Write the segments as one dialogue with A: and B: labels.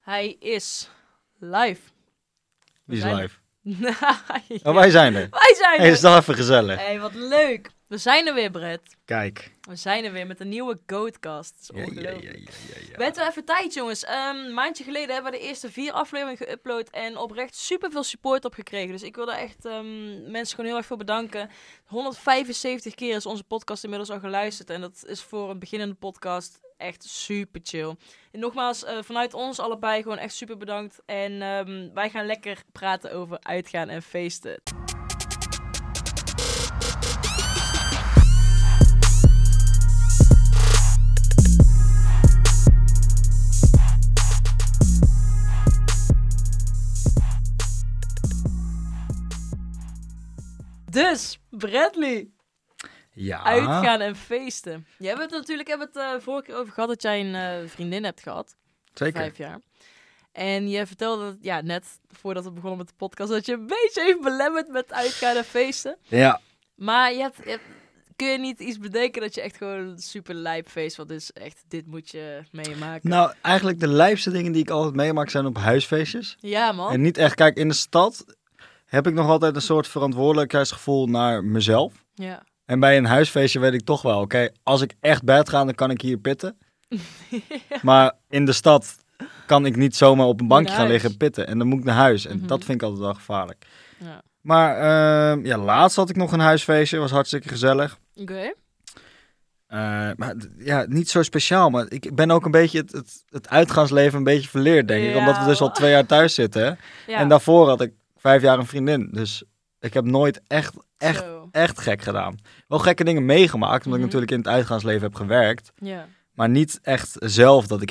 A: Hij is live. We
B: Die is
A: zijn er.
B: live.
A: Ja.
B: Oh, wij zijn er.
A: Wij zijn
B: Hey,
A: er.
B: is dat even gezellig?
A: Hey, wat leuk. We zijn er weer, Brett.
B: Kijk.
A: We zijn er weer met een nieuwe Goatcast. Dat is
B: Ja, ja, ja,
A: ongelooflijk.
B: ja, ja, ja.
A: We hebben even tijd, jongens. Ehm, een maandje geleden hebben we de eerste vier afleveringen geüpload en oprecht superveel support op gekregen. Dus ik wil daar echt ehm, mensen gewoon heel erg voor bedanken. 175 keer is onze podcast inmiddels al geluisterd en dat is voor een beginnende podcast echt super chill. En nogmaals, eh, vanuit ons allebei gewoon echt super bedankt. En ehm, wij gaan lekker praten over uitgaan en feesten. Dus, Bradley,
B: Ja.
A: uitgaan en feesten. Je hebt het natuurlijk hebben we het eh, vorige keer over gehad dat jij een eh, vriendin hebt gehad.
B: Zeker.
A: vijf jaar. En je vertelde dat, ja, net voordat we begonnen met de podcast, dat je een beetje heeft belemmerd met uitgaan en feesten.
B: Ja.
A: Maar je hebt, je hebt- kun je niet iets bedenken dat je echt gewoon een super lijp feest, want dit is echt, dit moet je meemaken.
B: Nou, eigenlijk de lijpste dingen die ik altijd meemaak zijn op huisfeestjes.
A: ja, man.
B: En niet echt, kijk, in de stad heb ik nog altijd een soort verantwoordelijkheidsgevoel naar mezelf.
A: Ja.
B: En bij een huisfeestje weet ik toch wel, oké, als ik echt bed ga, dan kan ik hier pitten. Maar in de stad kan ik niet zomaar op een bankje
A: naar
B: gaan
A: huis.
B: liggen pitten. En dan moet ik naar huis. En
A: Mhm.
B: dat vind ik altijd wel gevaarlijk.
A: ja.
B: Maar ehm, ja, laatst had ik nog een huisfeestje. Was hartstikke gezellig.
A: Oké.
B: Eh, maar d- ja, niet zo speciaal. Maar ik ben ook een beetje het, het, het uitgaansleven een beetje verleerd, denk ik.
A: Ja,
B: Omdat we dus al
A: wel.
B: twee jaar thuis zitten. hè.
A: Ja,
B: En daarvoor had ik vijf jaar een vriendin. Dus ik heb nooit echt, echt,
A: zo.
B: echt gek gedaan. Wel gekke dingen meegemaakt,
A: Mhm.
B: omdat ik natuurlijk in het uitgaansleven heb gewerkt.
A: Ja.
B: Maar niet echt zelf dat ik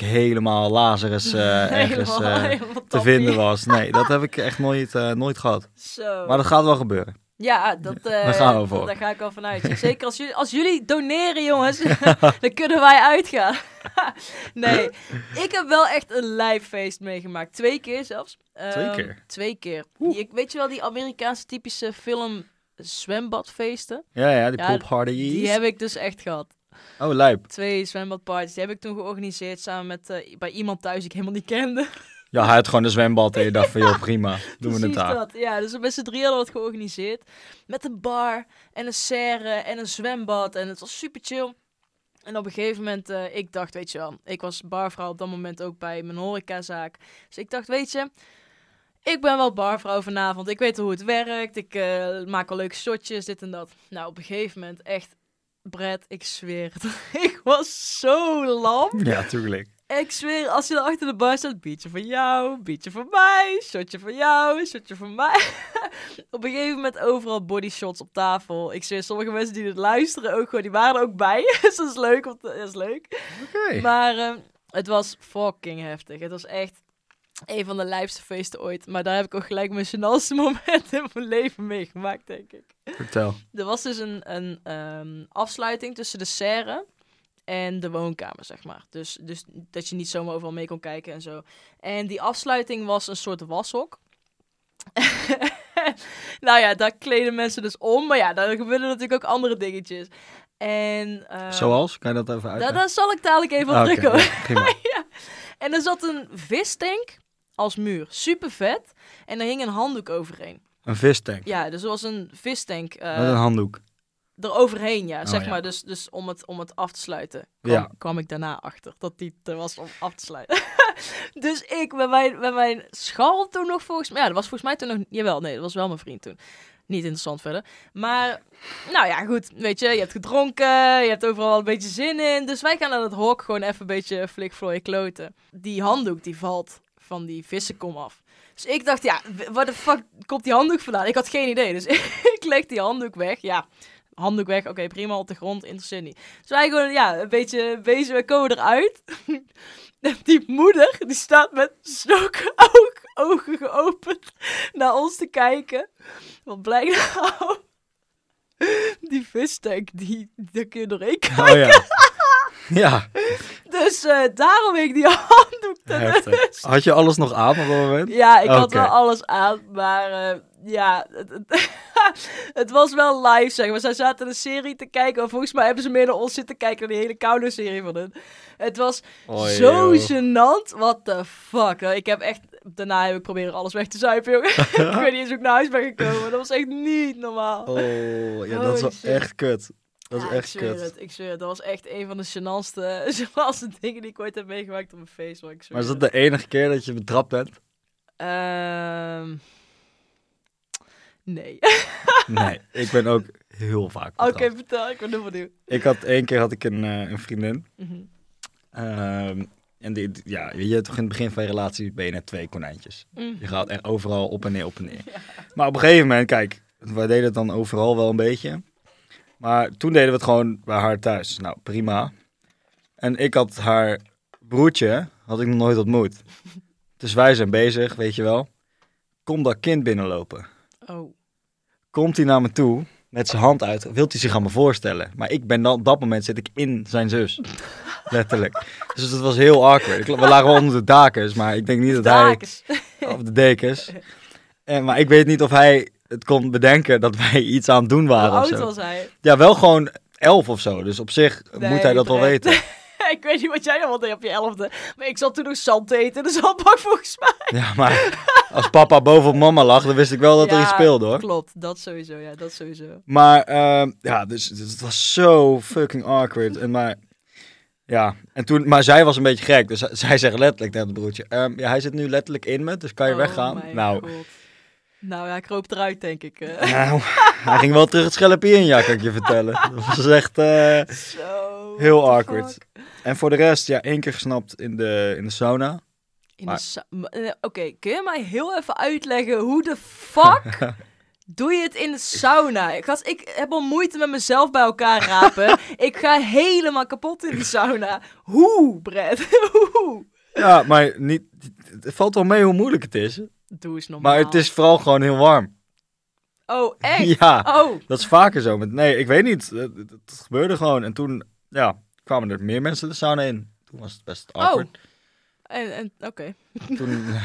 B: helemaal Lazarus eh, ergens
A: Helemaal-
B: eh,
A: helemaal
B: te
A: tappie. Oh.
B: vinden was. Nee, dat heb ik echt nooit, eh, nooit gehad.
A: Zo.
B: Maar dat gaat wel gebeuren.
A: Ja, dat, eh,
B: Daar gaan we voor.
A: daar ga ik al vanuit. Zeker als jullie, als jullie doneren, jongens, dan kunnen wij uitgaan. nee, ik heb wel echt een lijffeest meegemaakt. Twee keer zelfs. Ehm,
B: Twee keer?
A: Twee keer.
B: Oeh.
A: Je, weet je wel, die Amerikaanse typische film zwembadfeesten?
B: Ja, ja, die
A: Ja,
B: pophardies.
A: Die heb ik dus echt gehad.
B: Oh, lijp.
A: Twee zwembadparties. Die heb ik toen georganiseerd samen met, eh, bij iemand thuis die ik helemaal niet kende.
B: Ja, hij had gewoon een zwembad en je dacht van, joh, prima, doen we het
A: Precies
B: daar.
A: dat. Ja, dus met z'n drieën hadden we het georganiseerd. Met een bar en een serre en een zwembad. En het was super chill. En op een gegeven moment, eh, ik dacht, weet je wel, ik was barvrouw op dat moment ook bij mijn horecazaak. Dus ik dacht, weet je, ik ben wel barvrouw vanavond. Ik weet hoe het werkt. Ik eh, maak al leuke shotjes, dit en dat. Nou, op een gegeven moment echt, Brett, ik zweer het. ik was zo lam.
B: Ja, tuurlijk.
A: Ik zweer, als je daar achter de bar staat, biertje voor jou, biertje voor mij, shotje voor jou, shotje voor mij. op een gegeven moment overal bodyshots op tafel. Ik zweer, sommige mensen die dit luisteren ook gewoon, die waren er ook bij. dus dat is leuk, want dat is leuk.
B: Oké.
A: Maar ehm, het was fucking heftig. Het was echt een van de lijfste feesten ooit. Maar daar heb ik ook gelijk mijn gênantste moment in mijn leven meegemaakt, denk ik.
B: Vertel.
A: Er was dus een, een ehm, afsluiting tussen de serre en de woonkamer, zeg maar. Dus, dus dat je niet zomaar overal mee kon kijken en zo. En die afsluiting was een soort washok. nou ja, daar kleden mensen dus om. Maar ja, daar gebeuren natuurlijk ook andere dingetjes. En, ehm,
B: Zoals? Kan je dat even
A: Daar,
B: uitleggen?
A: daar zal ik dadelijk even op
B: Ah, oké,
A: terugkomen.
B: ja, prima.
A: En er zat een vistank als muur. Super vet. En er hing een handdoek overheen.
B: Een vistank.
A: Ja, dus er was een vistank. eh,
B: Met een handdoek.
A: eroverheen, ja,
B: Oh,
A: zeg
B: ja.
A: maar. Dus, dus om, het, om het af te sluiten kwam,
B: Ja.
A: kwam ik daarna achter dat die er was om af te sluiten. dus ik met mijn, met mijn scharrel toen nog volgens mij... Ja, dat was volgens mij toen nog... Jawel, nee, dat was wel mijn vriend toen. Niet interessant verder. Maar, nou ja, goed. Weet je, je hebt gedronken, je hebt overal wel een beetje zin in. Dus wij gaan naar dat hok gewoon even een beetje flikvlooien kloten. Die handdoek die valt van die vissenkom af. Dus ik dacht, ja, w- waar de fuck komt die handdoek vandaan? Ik had geen idee. Dus ik leg die handdoek weg. Ja, handdoek weg. Oké, prima, op de grond, interesseert niet. Dus wij gewoon, ja, een beetje bezig, we komen eruit. Die moeder, die staat met snokken oog- ogen geopend naar ons te kijken. Wat blijkt nou? Die visstank, die, daar kun je doorheen kijken.
B: Oh ja. Ja,
A: Dus eh, daarom hing die handdoek ten
B: heftig. Had je alles nog aan op dat moment?
A: Ja, ik had
B: Oké.
A: wel alles aan, maar eh, ja, het, het, het was wel live, zeg maar. Zij zaten een serie te kijken. Of volgens mij hebben ze meer naar ons zitten kijken dan die hele koude serie van hun. Het was
B: Oei,
A: zo
B: Oh, joh.
A: gênant. What the fuck. Ik heb echt... Daarna heb ik proberen alles weg te zuipen, jongen. ik weet niet eens hoe ik naar huis ben gekomen. Dat was echt niet normaal.
B: Oh, ja,
A: Oh,
B: dat is wel
A: shit.
B: echt kut. Dat is
A: Ja,
B: echt
A: ik zweer
B: kut.
A: Het, ik zweer het. Dat was echt een van de gênantste, gênantste dingen die ik ooit heb meegemaakt op een feest. Maar, ik zweer
B: Maar is dat
A: het.
B: de enige keer dat je betrapt bent?
A: Ehm, nee.
B: Nee, ik ben ook heel vaak
A: Oké,
B: betrapt.
A: vertel. Ik ben heel benieuwd.
B: Ik had één keer had ik een, eh, een vriendin.
A: Mhm.
B: Ehm, en die, die- ja, je hebt toch in het begin van je relatie ben je net twee konijntjes.
A: Mhm.
B: Je gaat echt overal op en neer, op en neer. Maar op een gegeven moment, kijk, wij deden het dan overal wel een beetje. Maar toen deden we het gewoon bij haar thuis. Nou, prima. En ik had haar broertje, had ik nog nooit ontmoet. Dus wij zijn bezig, weet je wel. Kom dat kind binnenlopen.
A: Oh.
B: Komt hij naar me toe, met zijn hand uit, wilt hij zich aan me voorstellen. Maar ik ben dan, op dat moment zit ik in zijn zus. Letterlijk. Dus dat was heel awkward. Ik- We lagen wel onder de dakens, maar ik denk niet dat hij...
A: Drakens.
B: Of de dekens. En, maar ik weet niet of hij het kon bedenken dat wij iets aan het doen
A: Hoe
B: waren of
A: oud
B: zo.
A: was hij?
B: Ja, wel gewoon elf of zo. Dus op zich
A: Nee,
B: moet hij dat wel
A: terecht.
B: weten.
A: ik weet niet wat jij dan deed op je elfde. Maar ik zat toen nog zand te eten in de zandbak volgens mij.
B: Ja, maar als papa bovenop mama lag, dan wist ik wel dat er
A: Ja,
B: iets speelde hoor.
A: Klopt, dat sowieso. Ja, dat sowieso.
B: Maar ehm, ja, dus, dus het was zo fucking awkward. En maar, ja. en toen, maar zij was een beetje gek. Dus zij- zij zegt letterlijk tegen het broertje: ehm, ja, Hij zit nu letterlijk in me, dus kan je
A: Oh
B: weggaan?
A: my
B: Nou,
A: God. Nou ja, ik kroop eruit denk ik. eh.
B: nou, hij ging wel terug het schelpje in, ja, kan ik je vertellen. Dat was echt. eh,
A: Zo.
B: Heel
A: what the
B: awkward.
A: fuck.
B: En voor de rest, ja, één keer gesnapt in de, in de sauna.
A: In
B: Maar-
A: de sa- ma- eh, Oké, kun je mij heel even uitleggen hoe de fuck doe je het in de sauna? Ik, gast, ik heb al moeite met mezelf bij elkaar rapen. ik ga helemaal kapot in de sauna. Hoe, Brett? Hoe?
B: Ja, maar niet, het valt wel mee hoe moeilijk het is.
A: Doe eens normaal.
B: Maar het is vooral gewoon heel warm.
A: Oh, echt?
B: Ja,
A: Oh,
B: dat is vaker zo. Met, nee, ik weet niet. Het, het- het gebeurde gewoon. En toen ja, kwamen er meer mensen de sauna in. Toen was het best
A: Oh.
B: awkward.
A: en, en oké.
B: Toen eh,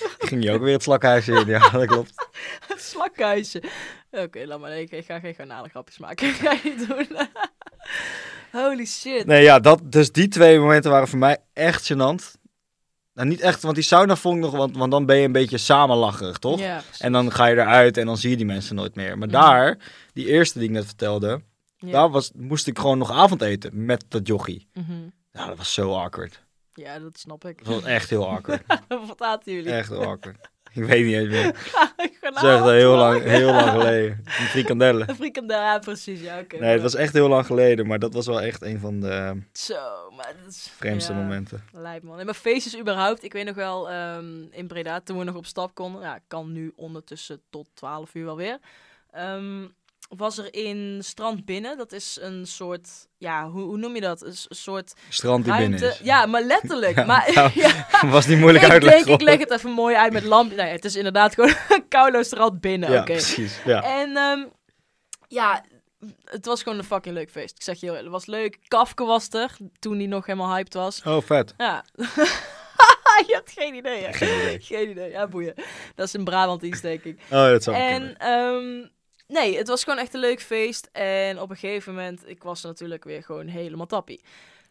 B: ging je ook weer het slakhuis in. Ja, dat klopt.
A: Het slakhuisje. Oké, laat maar. Ik, ik ga geen garnalen grapjes maken. Ik ga je niet doen. Holy shit.
B: Nee, ja, dat, dus die twee momenten waren voor mij echt gênant. Nou, niet echt, want die sauna vond ik nog, want, want dan ben je een beetje samenlacherig, toch?
A: Ja,
B: En dan ga je eruit en dan zie je die mensen nooit meer. Maar
A: Mhm.
B: daar, die eerste die ik net vertelde,
A: ja.
B: daar was, moest ik gewoon nog avondeten met dat jochie.
A: Mhm.
B: Ja, dat was zo awkward.
A: ja, dat snap ik.
B: Dat was echt heel awkward.
A: Wat aten jullie?
B: echt heel awkward. Ik weet niet eens meer. Het is
A: Garnalen
B: echt heel
A: toch?
B: lang, heel lang geleden. Die frikandellen.
A: Een frikandel, ja, precies. Ja, oké.
B: Nee, het was echt heel lang geleden, maar dat was wel echt een van de eh,
A: Zo, maar dat is...
B: vreemdste
A: ja,
B: momenten.
A: Lijp, man. En mijn feestjes überhaupt. Ik weet nog wel, ehm, in Breda, toen we nog op stap konden. Ja, kan nu ondertussen tot 12 uur wel weer. Ehm, was er in Strand Binnen, dat is een soort... Ja, hoe, hoe noem je dat? Een s- soort
B: Strand die binnen
A: ruimte...
B: is.
A: Ja, maar letterlijk.
B: Ja,
A: maar,
B: nou,
A: ja.
B: Was niet moeilijk
A: ik
B: uitleggen.
A: denk, ik
B: hoor.
A: leg het even mooi uit met lampjes. Nee, het is inderdaad gewoon een koulo strand binnen.
B: Ja,
A: oké.
B: precies. Ja.
A: En ehm, ja, het was gewoon een fucking leuk feest. Ik zeg je heel eerlijk, het was leuk. Kafke was er, toen die nog helemaal hyped was.
B: Oh, vet.
A: Ja. je had geen idee, hè?
B: Geen idee.
A: Geen idee, ja boeien. Dat is in Brabant iets, denk ik.
B: Oh, dat zou wel kunnen.
A: En ehm, nee, het was gewoon echt een leuk feest. En op een gegeven moment, ik was natuurlijk weer gewoon helemaal tappie.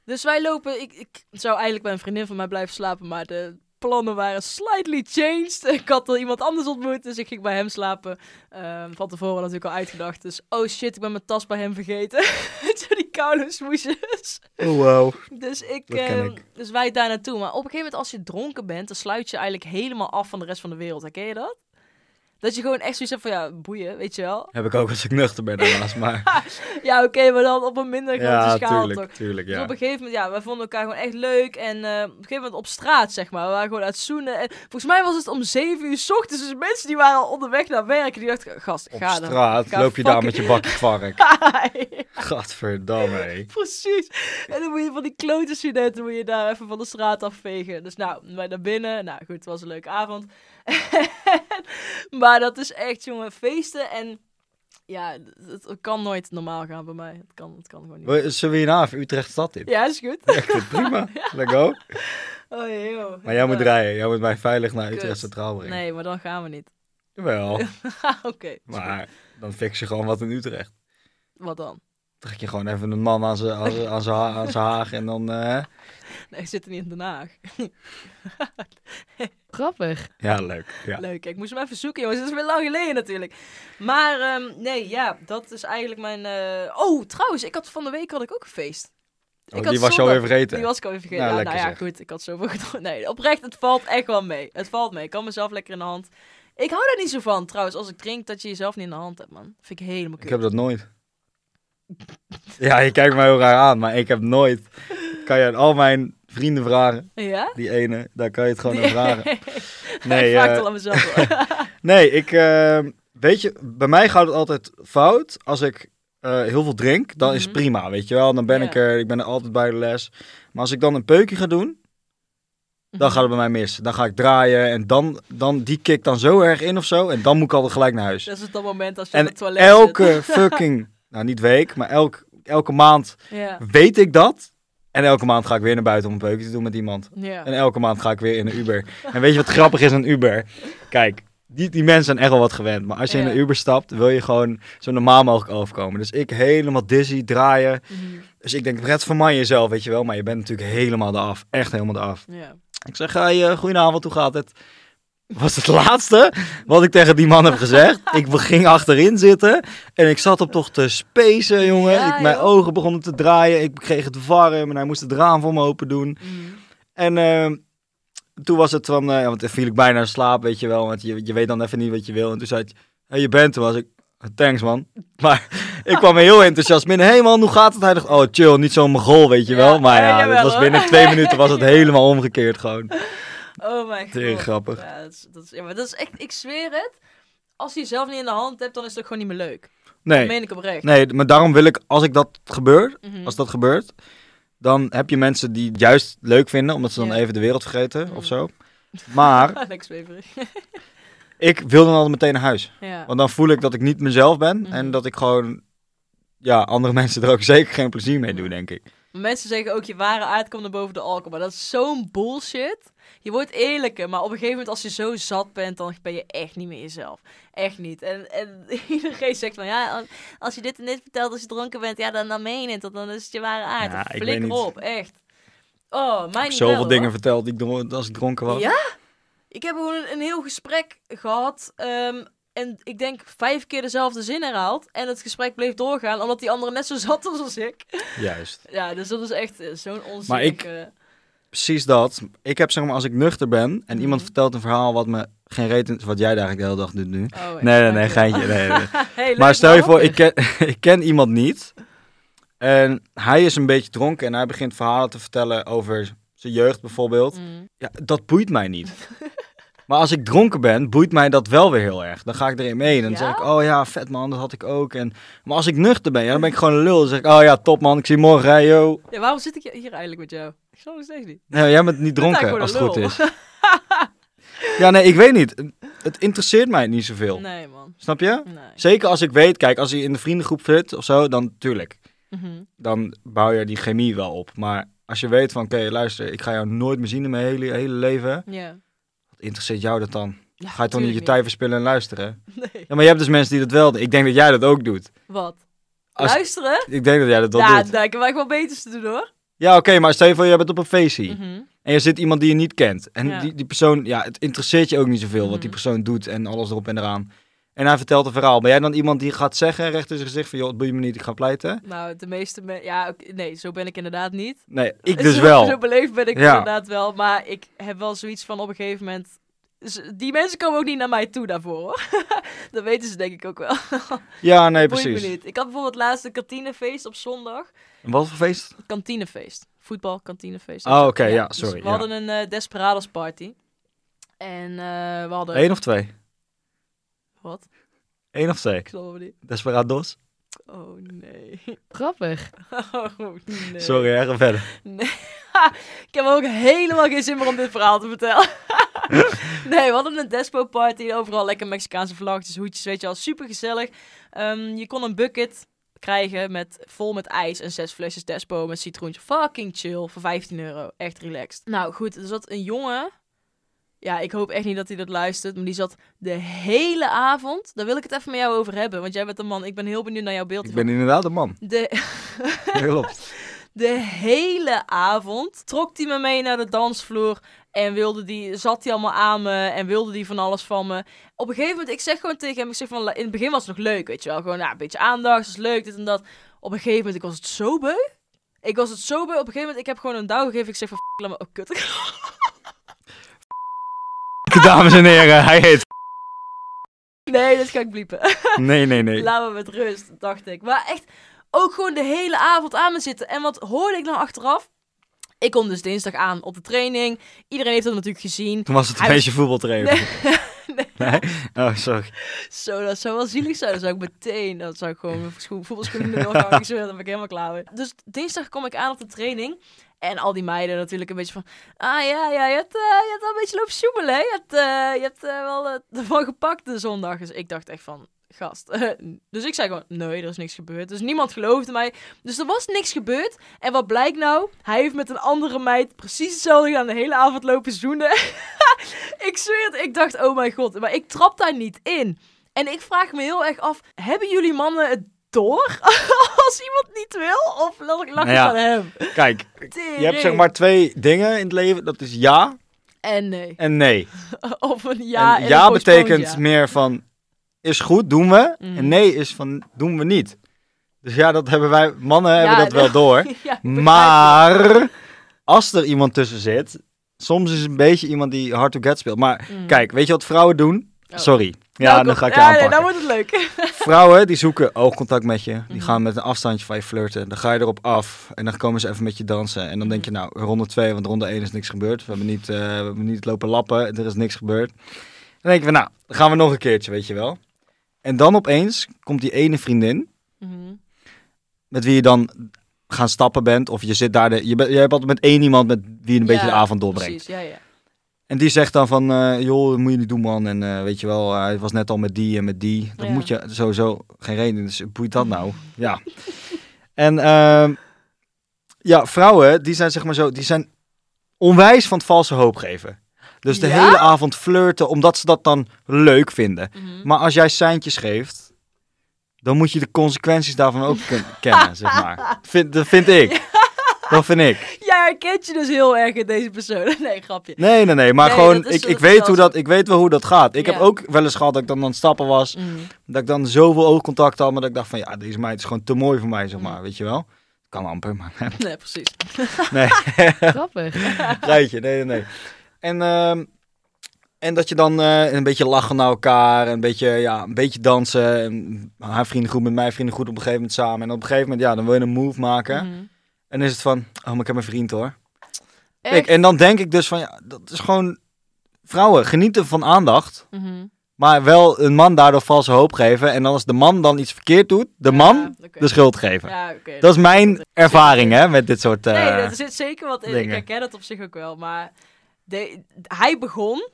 A: Dus wij lopen, ik, ik zou eigenlijk bij een vriendin van mij blijven slapen, maar de plannen waren slightly changed. Ik had al iemand anders ontmoet, dus ik ging bij hem slapen. Ehm, van tevoren natuurlijk al uitgedacht, dus oh shit, ik ben mijn tas bij hem vergeten. Zo die koude smoesjes.
B: Oh, wow.
A: Dus ik,
B: Dat ken
A: ehm,
B: ik.
A: dus wij daar naartoe. Maar op een gegeven moment, als je dronken bent, dan sluit je eigenlijk helemaal af van de rest van de wereld. Herken je dat? Dat je gewoon echt zoiets hebt van, ja, boeien, weet je wel.
B: Heb ik ook als ik nuchter ben daarnaast, maar...
A: Ja, oké, maar dan op een minder grote
B: ja,
A: schaal
B: tuurlijk,
A: toch.
B: tuurlijk,
A: Dus
B: ja.
A: op een gegeven moment, ja, wij vonden elkaar gewoon echt leuk. En eh, op een gegeven moment op straat, zeg maar. We waren gewoon aan het zoenen. En volgens mij was het om 7 uur 's ochtends. Dus mensen die waren al onderweg naar werk. En die dachten, gast,
B: Op
A: ga dan.
B: straat
A: Ga
B: loop je daar
A: fucking-
B: met je bakje kwark. Gadverdamme, hé.
A: Precies. En dan moet je van die klote studenten moet je daar even van de straat afvegen. Dus nou, wij naar binnen. Nou goed, het was een leuke avond. maar dat is echt, jongen, feesten. En ja, het, het kan nooit normaal gaan bij mij. Het kan, het kan gewoon niet.
B: We- Zullen we hierna even Utrecht stad in?
A: Ja, is goed.
B: Echt eh, prima, let go.
A: Oh, joh.
B: Maar jij moet
A: Ja.
B: rijden, jij moet mij veilig naar
A: Kut.
B: Utrecht Centraal brengen.
A: Nee, maar dan gaan we niet.
B: Jawel.
A: Oké.
B: Maar dan fix je gewoon wat in Utrecht.
A: Wat dan?
B: Trek je gewoon even een man aan zijn aan zijn- aan zijn ha- aan zijn haag en dan... eh,
A: Nee, ik zit er niet in Den Haag.
C: Grappig.
B: Ja, leuk. Ja.
A: Leuk, ik moest hem even zoeken, jongens. Het is weer lang geleden natuurlijk. Maar ehm, nee, ja, dat is eigenlijk mijn... eh, Oh, trouwens, ik had van de week had ik ook een feest.
B: Oh,
A: Ik had
B: die was je
A: zondag-
B: alweer vergeten.
A: Die was ik alweer vergeten.
B: Nou,
A: Ja,
B: lekker
A: nou ja,
B: zeg.
A: goed. Ik had zoveel gedronken. Nee, oprecht, het valt echt wel mee. Het valt mee. Ik kan mezelf lekker in de hand. Ik hou daar niet zo van, trouwens. Als ik drink, dat je jezelf niet in de hand hebt, man. Vind ik helemaal
B: Ik
A: kut.
B: heb dat nooit. Ja, je kijkt me heel raar aan, maar ik heb nooit. Kan je aan al mijn vrienden vragen,
A: Ja?
B: die ene, daar kan je het gewoon
A: Die-
B: aan vragen.
A: ik
B: Nee,
A: vraag het
B: eh,
A: al aan mezelf. hoor.
B: nee ik, eh, weet je, bij mij gaat het altijd fout als ik eh, heel veel drink, dan is het
A: Mhm.
B: prima, weet je wel. Dan ben
A: Ja.
B: ik er, ik ben er altijd bij de les. Maar als ik dan een peukje ga doen, dan gaat het bij mij mis. Dan ga ik draaien en dan, dan die kick dan zo erg in of zo en dan moet ik altijd gelijk naar huis.
A: Dat is het moment als je op
B: En
A: het toilet
B: elke fucking, nou niet week, maar elk, elke maand
A: zit. Ja.
B: weet ik dat. En elke maand ga ik weer naar buiten om een peukje te doen met iemand.
A: Ja.
B: En elke maand ga ik weer in een Uber. En weet je wat grappig is aan Uber? Kijk, die, die mensen zijn echt wel wat gewend. Maar als je in
A: Ja.
B: een Uber stapt, wil je gewoon zo normaal mogelijk overkomen. Dus ik helemaal dizzy, draaien.
A: Mhm.
B: Dus ik denk, red van mij jezelf, weet je wel. Maar je bent natuurlijk helemaal eraf. Echt helemaal eraf.
A: ja.
B: Ik zeg, hey, eh, goedenavond, hoe gaat het? Was het laatste wat ik tegen die man heb gezegd. Ik ging achterin zitten en ik zat op toch te spacen, jongen.
A: Ja,
B: ik, mijn
A: joh.
B: ogen begonnen te draaien. Ik kreeg het warm en hij moest het raam voor me open doen.
A: Mhm.
B: En ehm, toen was het van, eh, want dan viel ik bijna in slaap, weet je wel. Want je, je weet dan even niet wat je wil. En toen zei hij, hey, je bent er. was ik, thanks man. Maar ik kwam heel enthousiast binnen. Hé hey man, hoe gaat het? Hij dacht, oh chill, niet zo'n mogol, weet je
A: Ja,
B: wel. maar
A: ja,
B: ja,
A: jawel,
B: dat was
A: hoor.
B: binnen twee minuten was het helemaal omgekeerd gewoon.
A: Oh mijn
B: Tering
A: god.
B: grappig.
A: Ja, dat is, dat is, ja, maar dat is echt, ik zweer het. Als je jezelf niet in de hand hebt, dan is het ook gewoon niet meer leuk. Dat
B: Nee,
A: meen ik oprecht.
B: nee, maar daarom wil ik, als ik dat gebeurt,
A: Mhm.
B: als dat gebeurt, dan heb je mensen die het juist leuk vinden, omdat ze dan
A: Ja.
B: even de wereld vergeten of
A: Mm.
B: zo. Maar
A: Lex Weverig.
B: ik wil dan altijd meteen naar huis.
A: Ja.
B: Want dan voel ik dat ik niet mezelf ben
A: Mhm.
B: en dat ik gewoon, ja, andere mensen er ook zeker geen plezier mee
A: Mm.
B: doen, denk ik.
A: Mensen zeggen ook je ware aard komt er boven de alcohol. Maar dat is zo'n bullshit. Je wordt eerlijker, maar op een gegeven moment als je zo zat bent, dan ben je echt niet meer jezelf. Echt niet. En, en iedereen zegt van ja, als- als je dit en dit vertelt als je dronken bent, ja, dan, dan meen je het. want Dan is het je ware aard.
B: Ja,
A: Ja,
B: ik weet
A: Flikker
B: niet.
A: op, echt. Oh, mij
B: Ik heb
A: niet
B: zoveel
A: wel,
B: dingen
A: hoor.
B: verteld die ik dron- als ik dronken was.
A: Ja? Ik heb gewoon een, een heel gesprek gehad. ehm, en ik denk vijf keer dezelfde zin herhaald. En het gesprek bleef doorgaan, omdat die andere net zo zat was als ik.
B: Juist.
A: Ja, dus dat is echt eh, Oh, zo'n onzin.
B: Maar ik- Precies dat. Ik heb zeg maar, als ik nuchter ben en iemand
A: Mhm.
B: vertelt een verhaal wat me geen reet is, wat jij eigenlijk de hele dag doet
A: Oh,
B: nu. Nee, nee, nee, geintje. Nee, nee. Maar stel je voor, ik ken, ik ken iemand niet. En hij is een beetje dronken en hij begint verhalen te vertellen over zijn jeugd
A: Mm.
B: bijvoorbeeld. Ja, dat boeit mij niet. Maar als ik dronken ben, boeit mij dat wel weer heel erg. Dan ga ik erin mee. Dan
A: Ja?
B: zeg ik, oh ja, vet man, dat had ik ook. En, maar als ik nuchter ben, ja, dan ben ik gewoon een lul. Dan zeg ik, oh ja, top man, ik zie je morgen, hè, yo.
A: Ja, waarom zit ik hier eigenlijk met jou? Ik snap het steeds niet.
B: Nee, jij bent niet
A: bent
B: dronken, als het
A: eigenlijk
B: goed is. Ja, nee, ik weet niet. Het interesseert mij niet zoveel.
A: Nee, man.
B: Snap je?
A: Nee.
B: Zeker als ik weet, kijk, als hij in de vriendengroep zit of zo, dan tuurlijk.
A: Mhm.
B: Dan bouw je die chemie wel op. Maar als je weet van, oké, luister, ik ga jou nooit meer zien in mijn hele, hele leven.
A: Ja.
B: Wat interesseert jou dat dan?
A: Ja,
B: Ga je dan niet je
A: tuurlijk
B: tijd verspillen en luisteren?
A: Nee.
B: Ja, maar je hebt dus mensen die dat wel doen. Ik denk dat jij dat ook doet.
A: Wat?
B: Als-
A: Luisteren?
B: Ik denk dat jij dat wel
A: Ja,
B: doet.
A: daar kan ik wel beters te doen, hoor.
B: Ja, oké, maar stel je voor, je bent op een feestje.
A: Mhm.
B: En je zit iemand die je niet kent. En
A: Ja.
B: die, die persoon, ja, het interesseert je ook niet zoveel
A: Mhm.
B: wat die persoon doet en alles erop en eraan. En hij vertelt een verhaal. Ben jij dan iemand die gaat zeggen recht in zijn gezicht van, joh, het boeit me niet, ik ga pleiten?
A: Nou, de meeste mensen... Ja, oké, nee, zo ben ik inderdaad niet.
B: Nee, ik dus
A: Zo-
B: wel.
A: Zo beleefd ben ik
B: Ja.
A: inderdaad wel. Maar ik heb wel zoiets van op een gegeven moment... z- Die mensen komen ook niet naar mij toe daarvoor, hoor. dat weten ze denk ik ook wel.
B: Ja, nee,
A: Boeit me
B: precies.
A: niet. Ik had bijvoorbeeld laatst een kantinefeest op zondag.
B: En Wat voor feest?
A: kantinefeest. Voetbal, kantinefeest.
B: Oh, oké, ja,
A: dus
B: sorry,
A: we
B: ja.
A: hadden een eh, Desperados party. En eh, we hadden...
B: Eén of twee?
A: Wat?
B: Eén of twee?
A: Ik snap het niet.
B: Desperados?
A: Oh, nee.
C: Grappig.
A: Oh, nee.
B: Sorry, hè, ga verder.
A: Ik heb ook helemaal geen zin meer om dit verhaal te vertellen. nee, we hadden een despo party. Overal lekker Mexicaanse vlaggetjes, hoedjes, weet je wel. Super gezellig. je kon een bucket krijgen met, vol met ijs en zes flesjes despo met citroentje. Fucking chill. Voor 15 euro. Echt relaxed. Nou goed, er zat een jongen. Ja, ik hoop echt niet dat hij dat luistert. Maar die zat de hele avond. Daar wil ik het even met jou over hebben. Want jij bent een man. Ik ben heel benieuwd naar jouw beeld.
B: Ik ben inderdaad een man.
A: hiervan. De,
B: Dat Klopt.
A: de hele avond trok hij me mee naar de dansvloer. En wilde die, zat hij allemaal aan me en wilde die van alles van me. Op een gegeven moment, ik zeg gewoon tegen hem, ik zeg van, la- in het begin was het nog leuk, weet je wel. Gewoon, nou, een beetje aandacht, is leuk, dit en dat. Op een gegeven moment, ik was het zo beu. Ik was het zo beu. Op een gegeven moment, ik heb gewoon een douw gegeven. Ik zeg van, "F***, laat me, oh, kut.
B: Dames en heren, hij heet.
A: Nee, dat ga ik bliepen.
B: Nee, nee, nee.
A: Laat me met rust, dacht ik. Maar echt, ook gewoon de hele avond aan me zitten. En wat hoorde ik nou achteraf? Ik kom dus dinsdag aan op de training. Iedereen heeft dat natuurlijk gezien.
B: Toen was het een
A: Hij was-
B: beetje voetbaltrainer. Nee. Oh, sorry.
A: Zo, dat zou wel zielig zijn. Dan zou ik meteen, dan zou ik gewoon mijn schoen, voetbalschoenen in de doorgaan. Ik zweer, dan ben ik helemaal klaar mee. Dus dinsdag kom ik aan op de training. En al die meiden natuurlijk een beetje van... Ah ja, ja je, hebt, eh, je hebt wel een beetje lopen sjoemelen, hè? Je hebt, eh, je hebt eh, wel eh, ervan gepakt de zondag. Dus ik dacht echt van... Gast. dus ik zei gewoon, nee, er is niks gebeurd. Dus niemand geloofde mij. Dus er was niks gebeurd. En wat blijkt nou? Hij heeft met een andere meid precies hetzelfde gedaan. De hele avond lopen zoenen. ik zweer het. Ik dacht, oh mijn god. Maar ik trap daar niet in. En ik vraag me heel erg af, hebben jullie mannen het door als iemand niet wil? Of lag ik
B: Nou
A: lachen
B: ja.
A: aan hem?
B: Kijk, je hebt zeg maar twee dingen in het leven. Dat is ja
A: En nee.
B: en nee.
A: Of een ja
B: en
A: en,
B: ja,
A: een postponed
B: betekent
A: ja.
B: meer van is goed, doen we.
A: Mhm.
B: En nee is van doen we niet. Dus ja, dat hebben wij, mannen hebben
A: Ja,
B: dat wel door.
A: Ja, ik begrijp
B: Maar als er iemand tussen zit, soms is het een beetje iemand die hard to get speelt. Maar
A: het. Mm.
B: kijk, weet je wat vrouwen doen?
A: Oh.
B: Sorry. Ja,
A: Nou, kom-
B: dan ga ik je
A: ja,
B: aanpakken.
A: Nee, dan wordt het leuk.
B: Vrouwen die zoeken oogcontact met je. Die
A: Mhm.
B: gaan met een afstandje van je flirten. Dan ga je erop af. En dan komen ze even met je dansen. En dan denk je,
A: Mhm.
B: nou, ronde 2, want ronde 1 is niks gebeurd. We hebben niet, eh, we hebben niet lopen lappen. Er is niks gebeurd. Dan denk je, van, nou, dan gaan we nog een keertje, weet je wel. En dan opeens komt die ene vriendin.
A: Mhm.
B: Met wie je dan gaan stappen bent. Of je zit daar. De, je, bent- je hebt altijd met één iemand met wie je een beetje
A: Ja,
B: de avond doorbrengt.
A: Precies, ja, ja.
B: En die zegt dan van, eh, joh, dat moet je niet doen man. En eh, weet je wel, eh, hij was net al met die en met die. Dan
A: Ja.
B: moet je sowieso geen reden. Dus boeit dat nou? Ja. en ehm, ja, vrouwen, die zijn zeg maar zo, die zijn onwijs van het valse hoop geven. Dus de
A: Ja?
B: hele avond flirten, omdat ze dat dan leuk vinden.
A: Mhm.
B: Maar als jij seintjes geeft, dan moet je de consequenties daarvan ook kun- kennen, zeg maar. Vind, dat vind ik. Dat vind ik.
A: Jij herkent je dus heel erg in deze persoon. Nee, grapje.
B: Nee, nee, nee. Maar
A: Nee,
B: gewoon,
A: dat is-
B: ik,
A: dat
B: ik,
A: is
B: weet
A: wel
B: hoe
A: zo.
B: dat, ik weet wel hoe dat gaat. Ik
A: Ja.
B: heb ook wel eens gehad dat ik dan aan het stappen was.
A: Mhm.
B: Dat ik dan zoveel oogcontact had. Maar dat ik dacht van, ja, deze meid is gewoon te mooi voor mij, zeg maar.
A: Mm.
B: Weet je wel? Kan amper, maar...
A: Nee, precies.
B: nee,
A: Grappig.
B: geitje. Nee, nee, nee. En, ehm, en dat je dan eh, een beetje lachen naar elkaar. Een beetje, ja, een beetje dansen. En haar vriendengroep met mijn vriendengroep op een gegeven moment samen. En op een gegeven moment, ja, dan wil je een move maken.
A: Mm. Mhm.
B: En dan is het van, oh, maar ik heb een vriend, hoor. Kijk, en dan denk ik dus van, ja, dat is gewoon... Vrouwen, genieten van aandacht.
A: Mhm.
B: Maar wel een man daardoor valse hoop geven. En als de man dan iets verkeerd doet, de man de schuld geven.
A: Ja, oké.
B: Dat is mijn ervaring hè, met dit soort... eh,
A: Nee, er zit zeker wat in. Ik
B: dingen.
A: herken het op zich ook wel. Maar de- hij begon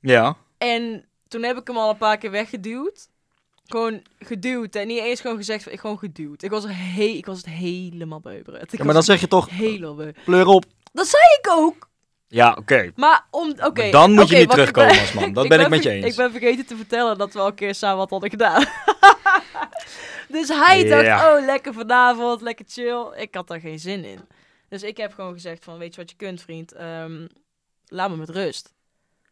B: Ja,
A: En toen heb ik hem al een paar keer weggeduwd. Gewoon geduwd. En niet eens gewoon gezegd, gewoon geduwd. Ik was, er he ik was het helemaal beuberd. Ik
B: ja, maar dan
A: was
B: zeg je toch,
A: helemaal beu.
B: pleur op.
A: Ik ook.
B: Ja, oké.
A: Maar om, oké.
B: Maar dan moet je
A: oké,
B: niet
A: want ik
B: terugkomen
A: ben-
B: als man. Dat ben ik met je
A: ver-
B: eens.
A: Ik ben vergeten te vertellen dat we al een keer samen wat hadden gedaan. dus hij
B: Ja.
A: dacht, oh, lekker vanavond, lekker chill. Ik had daar geen zin in. Dus ik heb gewoon gezegd van, weet je wat je kunt, vriend? Ehm, laat me met rust.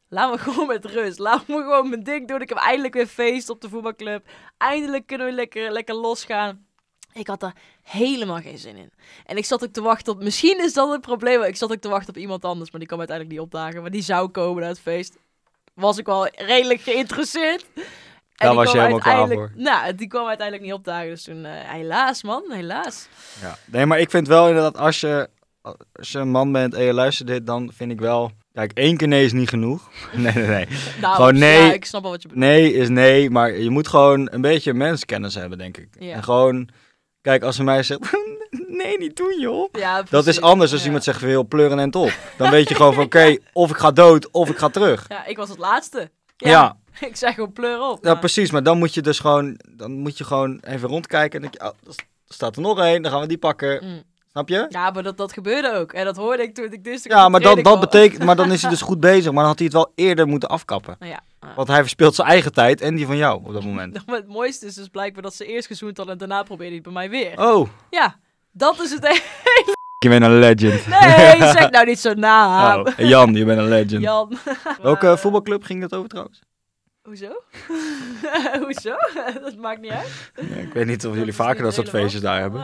A: Laat me gewoon met rust. Laat me gewoon mijn ding doen. Ik heb eindelijk weer feest op de voetbalclub. Eindelijk kunnen we lekker, lekker losgaan. Ik had daar helemaal geen zin in. En ik zat ook te wachten op... Misschien is dat het probleem. maar Ik zat ook te wachten op iemand anders. Maar die kwam uiteindelijk niet opdagen. Maar die zou komen naar het feest was ik wel redelijk geïnteresseerd. En
B: Daar
A: die
B: was je
A: kwam
B: helemaal klaar
A: uiteindelijk- Nou, die kwam uiteindelijk niet opdagen. Dus toen, eh, helaas man, helaas.
B: Ja. Nee, maar ik vind wel inderdaad, als je, als je een man bent en je luistert dit, dan vind ik wel... Kijk, één keer nee is niet genoeg. Nee, nee, nee.
A: Nou,
B: Gewoon
A: ja,
B: nee.
A: ik snap wel wat je bedoelt.
B: Nee is nee, maar je moet gewoon een beetje menskennis hebben, denk ik.
A: Ja.
B: En gewoon, kijk, als een meisje zegt, nee, niet doen joh.
A: Ja,
B: Dat
A: precies,
B: is anders als
A: ja.
B: iemand zegt, wil pleuren en top. Dan weet je gewoon van, oké, of ik ga dood, of ik ga terug.
A: Ja, ik was het laatste. Ja.
B: Ja, ja,
A: Ik zeg gewoon pleur op. maar-
B: precies. Maar dan moet je dus gewoon, dan moet je gewoon even rondkijken. En denk je, oh, er staat er nog één, dan gaan we die pakken.
A: Mm.
B: Snap je?
A: Ja, maar dat, dat gebeurde ook. En dat hoorde ik toen ik dus...
B: Ja, maar, dan, dat betekent, maar dan is hij dus goed bezig. Maar dan had hij het wel eerder moeten afkappen.
A: Nou ja, ah.
B: Want hij verspeelt zijn eigen tijd en die van jou op dat moment.
A: Maar het mooiste is dus blijkbaar dat ze eerst gezoend hadden en daarna probeerde hij het bij mij weer.
B: Oh,
A: Ja, dat is het. e-
B: je bent een legend.
A: Nee, zeg nou niet zo na.
B: Oh, Jan, je bent een legend.
A: Jan.
B: Welke
A: Maar-
B: voetbalclub ging dat over trouwens?
A: Hoezo? Hoezo? dat maakt niet uit.
B: ik weet niet of
A: Dat
B: jullie
A: is
B: vaker
A: niet
B: dat soort
A: relevant.
B: feestjes daar hebben.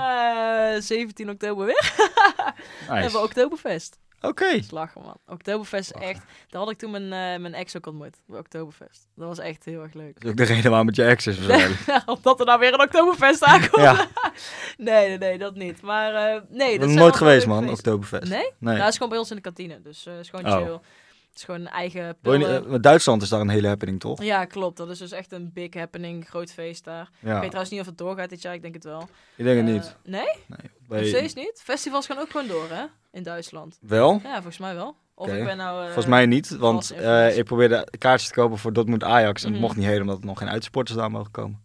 A: Eh, 17 oktober weer. Hebben we
B: Nice.
A: Oktoberfest.
B: Oké.
A: Dat is lachen, man. Oktoberfest is
B: Lachen.
A: echt... Daar had ik toen mijn, eh, mijn ex ook ontmoet. Bij Oktoberfest. Dat was echt heel erg leuk.
B: Dat is ook de reden waarom het je ex is waarschijnlijk.
A: Omdat er nou weer een Oktoberfest aankomt.
B: ja,
A: Nee, nee, nee, dat niet. Maar eh, nee,
B: ik
A: dat
B: ben
A: is
B: nooit geweest man, Oktoberfest.
A: Nee?
B: Nee.
A: Nou, het is gewoon bij ons in de kantine. Dus eh, het is gewoon
B: Oh.
A: chill. Het is gewoon een eigen
B: Wil je niet-
A: pillen.
B: eh, maar Duitsland is daar een hele happening toch?
A: Ja, klopt. Dat is dus echt een big happening. Groot feest daar. Ik
B: Ja,
A: weet trouwens niet of het doorgaat dit jaar. Ik denk het wel.
B: ik denk het
A: Eh,
B: niet.
A: Nee? Nog
B: Bij...
A: steeds Eh, niet? Festivals gaan ook gewoon door, hè? In Duitsland.
B: Wel?
A: Ja, volgens mij wel. Of
B: Oké.
A: ik ben nou... eh,
B: Volgens mij niet, want
A: Valse
B: eh,
A: informatie.
B: ik probeerde kaartjes te kopen voor Dortmund Ajax en dat
A: Mhm.
B: mocht niet helemaal omdat er nog geen uitsporters daar mogen komen.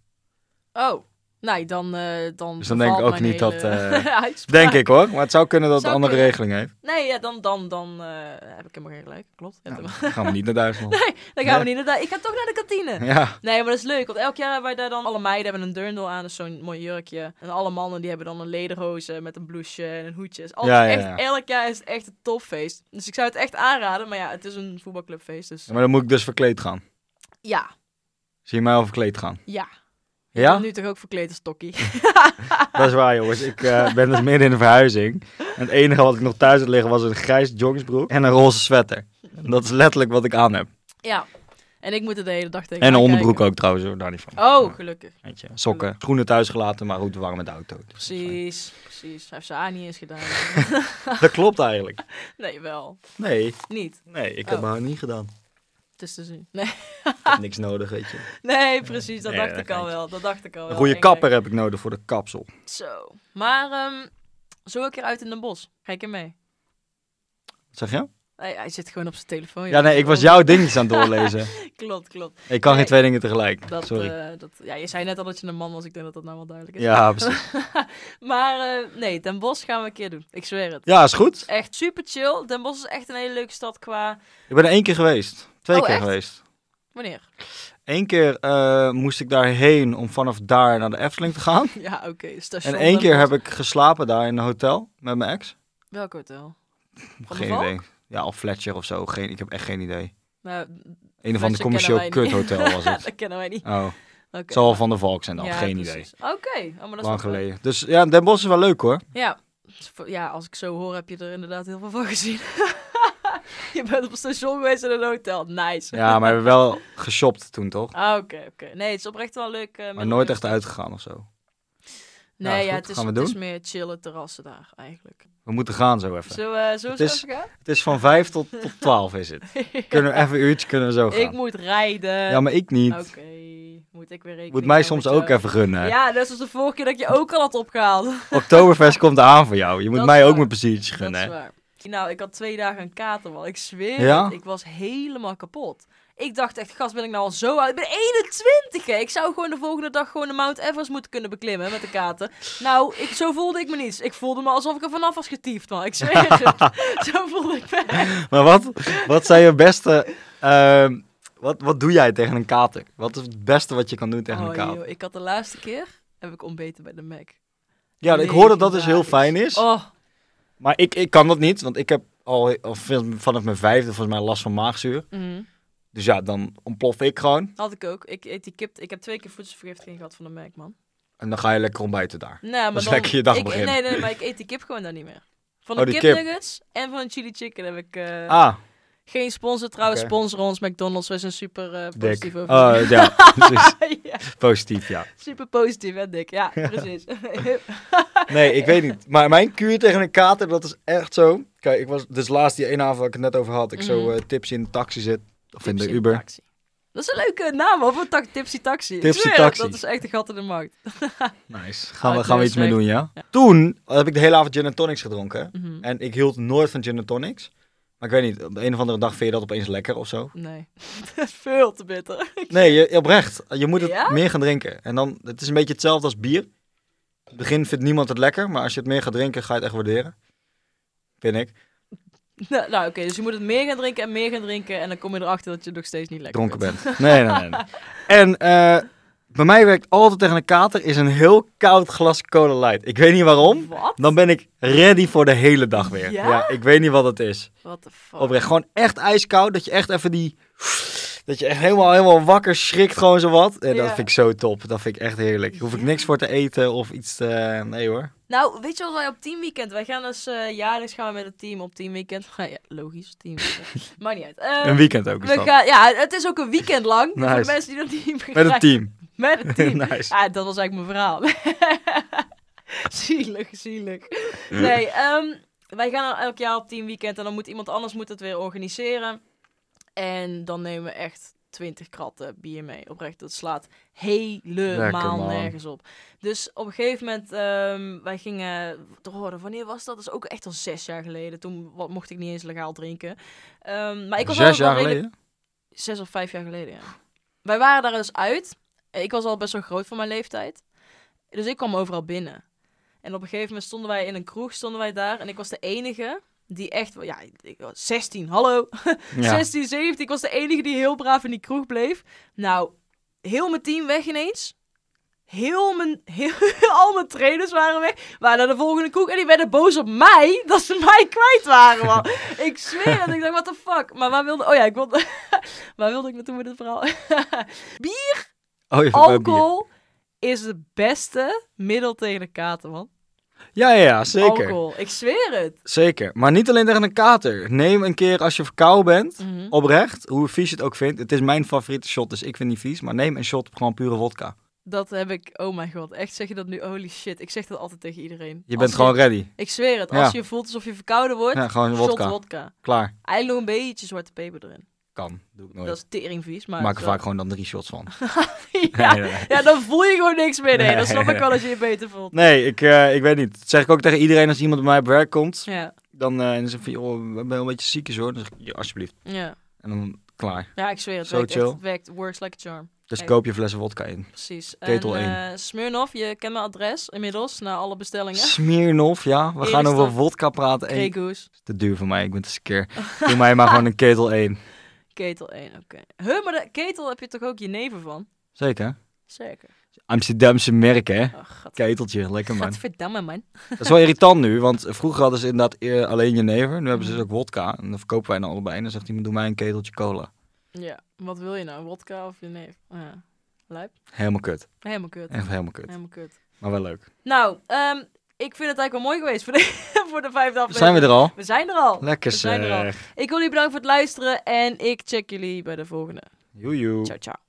A: Oh. Nee, dan... eh, dan
B: Dus dan denk ik
A: bevalt
B: ook
A: mijn
B: niet dat, eh,
A: hele uitspraak.
B: Denk ik hoor, maar het zou kunnen dat het
A: Zou
B: andere
A: kunnen.
B: regeling heeft.
A: Nee, ja, dan, dan, dan eh, heb ik helemaal geen gelijk. Klopt. Ja,
B: Nou,
A: dan-
B: dan gaan we niet naar Duitsland.
A: Dan gaan we niet
B: Nee.
A: naar... daar. Ik ga toch naar de kantine.
B: Ja,
A: Nee, maar dat is leuk, want elk jaar hebben wij daar dan... Alle meiden hebben een dirndl aan, dus zo'n mooi jurkje. En alle mannen die hebben dan een lederhoze met een blouseje en een hoedje. Dus altijd,
B: Ja, ja, ja.
A: Echt, elk jaar is het echt een topfeest. Dus ik zou het echt aanraden, maar ja, het is een voetbalclubfeest, dus...
B: Ja, maar dan moet ik dus verkleed gaan.
A: Ja,
B: Zie je mij al verkleed gaan?
A: ja.
B: Ja?
A: Nu toch ook verkleed als tokkie.
B: Dat is waar, jongens. Ik eh, ben dus midden in de verhuizing. En het enige wat ik nog thuis had liggen was een grijs joggingsbroek en een roze sweater. En dat is letterlijk wat ik aan heb.
A: Ja. En ik moet er de hele dag tegen
B: En een
A: aankijken.
B: onderbroek ook trouwens, hoor, daar niet van.
A: Oh, gelukkig.
B: Eentje. Sokken, schoenen thuis gelaten, maar goed, we waren met de auto. Dus dat is fijn.
A: Precies, precies. Hij heeft ze aan niet eens gedaan.
B: Dat klopt eigenlijk.
A: nee, wel.
B: Nee,
A: Niet.
B: nee, ik heb
A: Oh.
B: mijn haar niet gedaan.
A: Het is te zien. Nee,
B: Ik heb niks nodig, weet je.
A: nee precies. Dat
B: Nee,
A: dacht
B: dat
A: ik al
B: geintje.
A: wel. Dat dacht ik al wel.
B: Een goede
A: Eng,
B: kapper heb ik nodig voor de kapsel.
A: eng. Zo. Maar ehm zo een keer uit in Den bos. Ga ik er mee?
B: Zeg je?
A: Hij, hij zit gewoon op zijn telefoon.
B: Ja, nee, ik was jouw dingetjes aan het doorlezen.
A: Klopt, klopt.
B: Ik kan geen
A: Nee.
B: twee dingen tegelijk.
A: Dat,
B: Sorry.
A: eh, dat, ja, je zei net al dat je een man was. Ik denk dat dat nou wel duidelijk is.
B: Ja, precies.
A: Maar eh, nee, Den Bos gaan we een keer doen. Ik zweer het.
B: Ja, is goed.
A: Echt super chill. Den Bos is echt een hele leuke stad qua...
B: Ik ben er één keer geweest. Twee
A: Oh,
B: keer
A: echt?
B: geweest.
A: Wanneer?
B: Eén keer eh, moest ik daarheen om vanaf daar naar de Efteling te gaan.
A: Ja, oké. Station
B: En één
A: Den
B: keer
A: Bosch.
B: heb ik geslapen daar in een hotel met mijn ex.
A: Welk hotel? Van de
B: Geen
A: Valk?
B: idee. Ja, of Fletcher of zo. Geen, ik heb echt geen idee.
A: Nou,
B: Een of
A: Fletcher
B: ander
A: kennen
B: commercieel
A: wij niet.
B: kuthotel was het.
A: dat kennen wij niet.
B: Oh,
A: Oké.
B: het zal wel van de Valk zijn dan.
A: Ja,
B: geen idee.
A: precies. Oké, oh, maar dat is wel
B: Lang
A: fijn.
B: geleden. Dus ja, Den Bosch is wel leuk hoor.
A: Ja. ja, als ik zo hoor heb je er inderdaad heel veel van gezien. je bent op een station geweest in een hotel. Nice.
B: Ja, maar we hebben wel geshopt toen toch?
A: Ah, Oké, oké. Nee, het is oprecht wel leuk. eh,
B: Maar
A: met
B: nooit
A: een-
B: echt uitgegaan of zo.
A: Nee,
B: Ja,
A: ja,
B: goed,
A: het, is,
B: gaan we
A: het is
B: doen.
A: meer chillen terrassen daar eigenlijk.
B: We moeten gaan zo even.
A: Zullen we, zullen we
B: Het
A: zo even gaan?
B: Het is van vijf tot, tot twaalf is het. Kunnen we even een uurtje, kunnen we zo
A: ik
B: gaan.
A: moet rijden.
B: Ja, maar ik niet.
A: Oké, moet ik weer rekening
B: Moet mij
A: houden
B: soms
A: met
B: ook
A: jou?
B: even gunnen.
A: Ja, net als de vorige keer dat je ook al had opgehaald.
B: Oktoberfest komt aan voor jou. Je moet
A: Dat
B: mij
A: is
B: ook
A: waar.
B: mijn pleziertje
A: Dat
B: gunnen.
A: is
B: hè?
A: waar. Nou, ik had twee dagen een katerwal. Ik zweer
B: Ja?
A: het, ik was helemaal kapot. Ik dacht echt, gast, ben ik nou al zo oud? Ik ben 21, hè. Ik zou gewoon de volgende dag gewoon de Mount Everest moeten kunnen beklimmen met de kater. Nou, ik, zo voelde ik me niet. Ik voelde me alsof ik er vanaf was getiefd, man. Ik zweer het. zo voelde ik me. echt.
B: Maar wat, wat zijn je beste... ehm, wat, wat doe jij tegen een kater? Wat is het beste wat je kan doen tegen
A: Oh,
B: een kater?
A: joh, ik had de laatste keer, heb ik ontbeten bij de Mac.
B: Ja, ik hoor dat dat dus heel fijn is.
A: Oh,
B: Maar ik, ik kan dat niet, want ik heb al, al veel- vanaf mijn vijfde volgens mij last van maagzuur.
A: mhm.
B: Dus ja, dan ontplof ik gewoon.
A: had ik ook. Ik, eet die kip, ik heb twee keer voedselvergiftiging gehad van de Mac, man.
B: En dan ga je lekker ontbijten daar.
A: Nee, Nou, maar
B: is
A: dan,
B: lekker je dag
A: ik,
B: beginnen.
A: Nee, nee, maar ik eet die kip gewoon dan niet meer. Van
B: Oh,
A: de
B: die
A: kip
B: kip.
A: nuggets en van een chili chicken heb ik eh,
B: Ah,
A: geen sponsor trouwens.
B: Oké.
A: Sponsor ons, McDonald's. We zijn super eh,
B: dik.
A: positief over.
B: Oh, ja, precies.
A: ja,
B: Positief, ja.
A: super positief, hè, Dick? Ja, precies.
B: Nee, ik weet niet. Maar mijn kuur tegen een kater, dat is echt zo. Kijk, ik was dus laatst die ene avond waar ik het net over had. Ik zo
A: Mhm.
B: eh, tips in de taxi zit. Of in de
A: Tipsy
B: Uber.
A: Taxi. Dat is een leuke naam, hoor. Voor ta- Tipsy Taxi. Ik
B: Tipsy
A: zweer het,
B: Taxi.
A: Dat is echt een gat in de markt.
B: Nice. Gaan we,
A: Uit
B: gaan we iets mee
A: Noordzee.
B: doen, ja? Toen heb ik de hele avond gin and tonics gedronken.
A: Mhm.
B: En ik hield nooit van gin and tonics. Maar ik weet niet, op de een of andere dag vind je dat opeens lekker of zo.
A: Nee, dat is veel te bitter.
B: Nee, je, oprecht. Je moet het
A: Ja?
B: meer gaan drinken. En dan, het is een beetje hetzelfde als bier. het begin vindt niemand het lekker, maar als je het meer gaat drinken, ga je het echt waarderen. Vind ik.
A: Nou, nou, oké, dus je moet het meer gaan drinken en meer gaan drinken. En dan kom je erachter dat je het nog steeds niet lekker
B: Dronken
A: vindt.
B: bent. Nee, nee, nee. nee. En eh, bij mij werkt altijd tegen een kater is een heel koud glas Cola Light. Ik weet niet waarom.
A: Wat?
B: Dan ben ik ready voor de hele dag weer.
A: Ja?
B: ik weet niet wat het is.
A: What the fuck?
B: Oprecht, Oh. gewoon echt ijskoud. Dat je echt even die... Dat je echt helemaal, helemaal wakker schrikt, gewoon zo wat. En dat
A: Ja.
B: vind ik zo top. Dat vind ik echt heerlijk. Hoef ik niks voor te eten of iets te... Nee hoor.
A: Nou, weet je wat wij op teamweekend... Wij gaan dus eh jaarlijks gaan we met het team op teamweekend. Ja, logisch, teamweekend. Maakt niet uit. Eh,
B: Een weekend ook is
A: we
B: dat.
A: gaan, ja, het is ook een weekend lang.
B: Nice.
A: Voor de mensen die dat niet begrijpen.
B: Met het team.
A: Met het team.
B: Nice.
A: Ah, dat was eigenlijk mijn verhaal. zielig, zielig. Nee, ehm, wij gaan elk jaar op teamweekend en dan moet iemand anders moet het weer organiseren. En dan nemen we echt 20 kratten bier mee. Oprecht, dat slaat
B: Lekker,
A: helemaal
B: man.
A: nergens op. Dus op een gegeven moment, ehm, wij gingen te horen, wanneer was dat? Dat is ook echt al zes jaar geleden. Toen wa- mocht ik niet eens legaal drinken. Ehm, maar ik was
B: Zes
A: wel
B: jaar
A: redelijk-
B: geleden?
A: zes of vijf jaar geleden, ja. Wij waren daar dus uit. Ik was al best wel groot voor mijn leeftijd. Dus ik kwam overal binnen. En op een gegeven moment stonden wij in een kroeg, stonden wij daar. En ik was de enige die echt... Ja, ik was 16, hallo.
B: Ja.
A: 16, 17. Ik was de enige die heel braaf in die kroeg bleef. Nou, heel mijn team weg ineens. Heel mijn, heel, al mijn trainers waren weg. Waren naar de volgende kroeg. En die werden boos op mij dat ze mij kwijt waren, man. ik zweer het. Ik dacht, what the fuck. Maar waar wilde... Oh ja, ik wilde... waar wilde ik naartoe met dit verhaal?
B: Oh, je verkoopt bier.
A: Alcohol is het beste middel tegen de kater, man.
B: Ja, ja, ja, zeker.
A: Alcohol. Ik zweer het.
B: Zeker. Maar niet alleen tegen een kater. Neem een keer als je verkouden bent,
A: Mhm.
B: oprecht, hoe vies je het ook vindt. Het is mijn favoriete shot, dus ik vind die vies. Maar neem een shot op gewoon pure vodka.
A: Dat heb ik... Oh mijn god. Echt, zeg je dat nu? Holy shit. Ik zeg dat altijd tegen iedereen.
B: Je
A: Als
B: bent gewoon ready.
A: Ik zweer het,
B: Ja.
A: als je voelt alsof je verkouden wordt,
B: Ja, gewoon
A: shot
B: vodka.
A: wodka.
B: Klaar.
A: Eigenlijk nog een beetje zwarte peper erin.
B: Kan. Doe ik
A: Dat
B: nooit.
A: is teringvies, maar...
B: Ik maak er
A: het
B: vaak gewoon dan drie shots van.
A: is wel- ja,
B: Nee, nee, nee.
A: ja, dan voel je gewoon niks meer. Nee, dan snap
B: Nee.
A: ik wel dat je je beter voelt.
B: Nee, ik, eh, ik weet niet. Dat zeg ik ook tegen iedereen als iemand bij mij op werk komt.
A: Ja,
B: Dan eh, en dan zeg ik van, joh, ik ben een beetje ziekjes hoor. Dan zeg ik, "Ja, alsjeblieft.
A: ja.
B: En dan klaar.
A: ja ik zweer het.
B: Zo
A: werkt echt.
B: chill.
A: Het werkt. Works like a charm.
B: Dus
A: Hey. Oh,
B: koop je flessen vodka in.
A: Precies.
B: Ketel
A: en,
B: één.
A: eh, Smirnoff, je kent mijn adres inmiddels, na alle bestellingen.
B: Smirnoff, ja. We gaan
A: Eerst
B: over
A: dan.
B: vodka praten. Hey,
A: Grey Goose,
B: Te duur voor mij, ik ben te skeer. Doe mij maar gewoon een ketel 1.
A: ketel 1, oké. Huh, maar de ketel heb je toch ook je neven van?
B: Zeker.
A: Zeker.
B: Amsterdamse merk, hè?
A: Ach, gat-
B: Keteltje, lekker man.
A: gadverdamme man.
B: Dat is wel irritant nu, want vroeger hadden ze inderdaad eh, alleen jenever. Nu hebben
A: Mm.
B: ze dus ook wodka. En dan verkopen wij dan allebei. En dan zegt iemand, doe mij een keteltje cola.
A: Ja, wat wil je nou? Wodka of je neef? Ja. Lijp?
B: Helemaal kut.
A: Helemaal kut.
B: Echt helemaal kut.
A: Helemaal kut.
B: Maar wel leuk.
A: Nou, ehm, ik vind het eigenlijk wel mooi geweest voor de, voor de vijfde aflevering.
B: Zijn we er al?
A: We zijn er al.
B: Lekker
A: We zijn er al.
B: zeg.
A: Ik wil jullie bedanken voor het luisteren en ik check jullie bij de volgende.
B: Joejoe.
A: Ciao, ciao.